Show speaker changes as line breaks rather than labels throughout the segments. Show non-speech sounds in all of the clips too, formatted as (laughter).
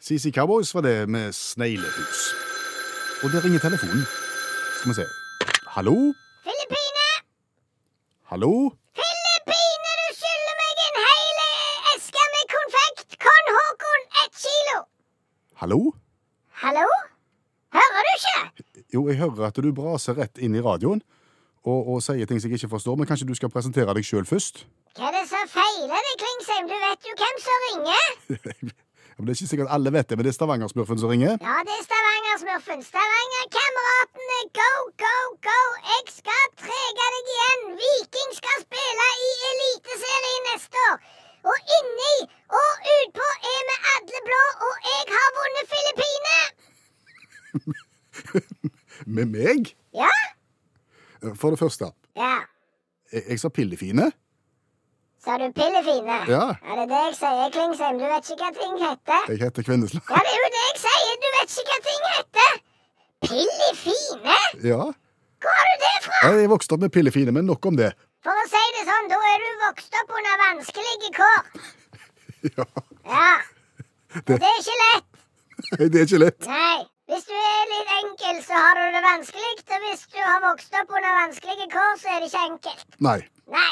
CC Cowboys var det med sneglehus. Og der ringer telefonen. Skal vi se. Hallo?
Filippine!
Hallo?
Filippine, du skylder meg en hel eh, eske med konfekt! Kon Håkon, ett kilo!
Hallo?
Hallo? Hører du ikke?
Jo, jeg hører at du braser rett inn i radioen og, og sier ting som jeg ikke forstår, men kanskje du skal presentere deg sjøl først? (laughs)
Hva er det som feiler deg, Klingsheim? Du vet jo hvem som ringer?
Ja, men Det er ikke sikkert alle vet det, men det er Stavangersmurfen som ringer.
Ja, det er Stavanger-smurfen. Stavanger-kameratene, go, go, go! Jeg skal trege deg igjen! Viking skal spille i Eliteserien neste år. Og inni og utpå er vi alle blå, og jeg har vunnet Filippine!
Med meg?
Ja?
For det første,
Ja.
jeg, jeg sa pillefine.
Sa du pillefine?
Ja.
Er det det jeg sier, Klingsheim? Du vet ikke hva ting heter?
Jeg heter Kvinnesland.
Ja, det er jo det jeg sier! Du vet ikke hva ting heter! Pillefine?
(laughs) Ja.
Hvor har du det fra?
Jeg vokste opp med pillefine, men nok om det. (laughs)
For å si det sånn, da er du vokst opp under vanskelige kår.
Ja,
Ja. Og det er ikke lett.
Det er ikke lett.
Nei. Hvis du er litt enkel, så har du det vanskelig. Og hvis du har vokst opp under vanskelige kår, så er det ikke enkelt.
Nei.
Nei.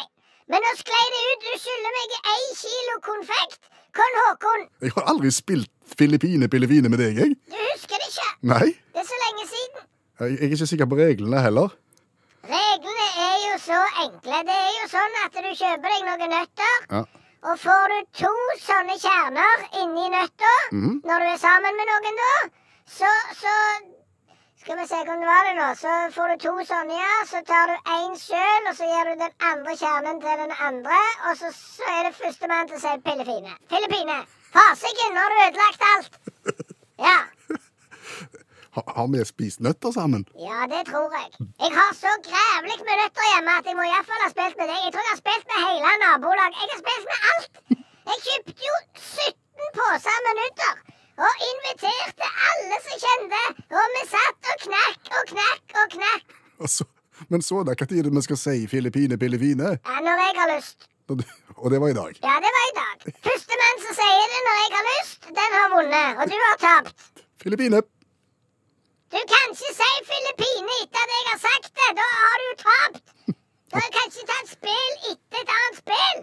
Men nå sklei det ut. Du skylder meg ei kilo konfekt. Kon Håkon,
Jeg har aldri spilt Filippine-pillefine med deg, jeg.
du husker det ikke.
Nei.
Det er så lenge siden.
Jeg jeg er ikke sikker på reglene heller.
Reglene er jo så enkle. Det er jo sånn at du kjøper deg noen nøtter.
Ja.
Og får du to sånne kjerner inni nøtta når du er sammen med noen, da, så, så Skal vi se hvordan var det nå. Så får du to sånne, ja. Så tar du én sjøl, og så gir du den andre kjernen til den andre. Og så, så er det førstemann til å si pillefine. Filippine. Fasiken, nå har du ødelagt alt. Ja.
Ha, har vi spist nøtter sammen? (laughs)
Ja, det tror jeg. Jeg har så grævlig med nøtter hjemme at jeg må iallfall ha spilt med deg. Jeg tror jeg har spilt med hele nabolaget. Jeg har spilt med alt. Jeg kjøpte jo 17 poser med nøtter. Og inviterte alle som kjente. Og vi satt og knakk og knakk og knakk.
Og så- Altså, men så da, hva tid er det vi skal si Filippine-pillefine?
Ja, når jeg har lyst.
Og det- Og det var i dag.
Ja, det var i dag. Førstemann som sier det når jeg har lyst, den har vunnet. Og du har tapt.
Filippine!
Du kan ikke si Filippine etter at jeg har sagt det. Da har du jo tapt. Du kan ikke ta et spill etter et annet spill.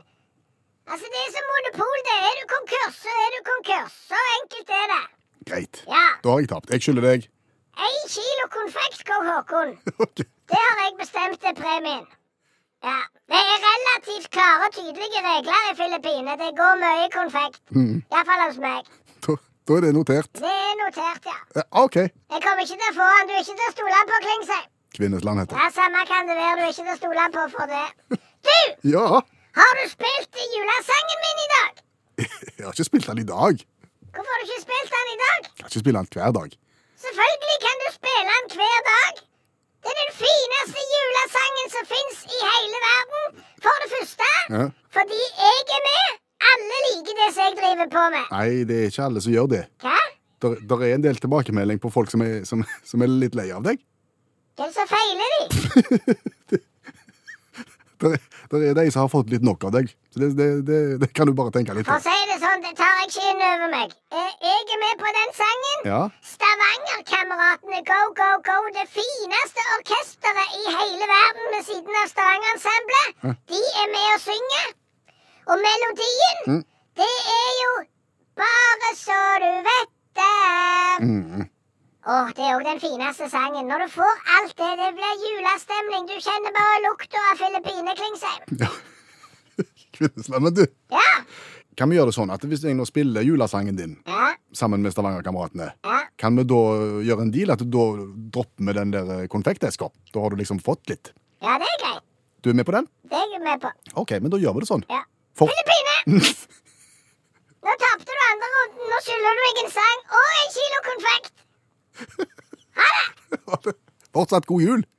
Altså, det er som monopol, det. Er du konkurs, så er du konkurs. Så enkelt er det.
Greit.
Ja.
Da har jeg tapt. Jeg skylder deg. (laughs)
Én kilo konfekt, Kong Håkon.
Ok.
Det har jeg bestemt er premien. Ja. Det er relativt klare og tydelige regler i Filippine. Det går mye konfekt. Iallfall hos meg.
Da, da er det notert.
Det er notert, ja.
Eh, OK.
Jeg kommer ikke til å få han. Du er ikke til å stole på, Klingsheim.
Kvinnesland heter det.
Ja, samme kan det være. Du er ikke til å stole på for det. Du!
Ja.
Har du spilt julesangen min i dag?
Jeg har ikke spilt den i dag.
Hvorfor har du ikke spilt den i dag?
Jeg har ikke spilt den hver dag.
Selvfølgelig kan du spille den hver dag. Det er den fineste julesangen som fins i hele verden. For det første
Ja.
fordi jeg er med. Alle liker det som jeg driver på med.
Nei, det er ikke alle som gjør det.
Hva?
Der, der er en del tilbakemelding på folk som er, som, som er litt lei av deg.
Hva er det som feiler de?
Der, der er de som har fått litt nok av deg. Så det, det, det, det kan du bare tenke litt
For
på.
å si det sånn, det tar jeg ikke inn over meg. Eh, Jeg er med på den sangen.
Ja.
Stavangerkameratene Go Go Go, det fineste orkesteret i hele verden ved siden av Stavangerensemblet. De er med og synger. Og melodien, det er jo Bare så du vet det.
Mm.
Åh, det er òg den fineste sangen. Når du får alt det, det blir julestemning. Du kjenner bare lukta av Filippine Klingsheim.
ja. Kvinnesland. Men du,
Ja.
kan vi gjøre det sånn at hvis jeg nå spiller julesangen din
Ja.
sammen med Stavangerkameratene,
Ja.
kan vi da gjøre en deal at du da dropper med den der konfekteska? Da har du liksom fått litt.
Ja, det er greit.
Du er med på den?
Det er jeg med på.
OK, men da gjør vi det sånn.
Ja.
For... (laughs)
Filippine! Nå tapte du andre runden. Nå skylder du meg en sang og en kilo konfekt.
Fortsatt god jul!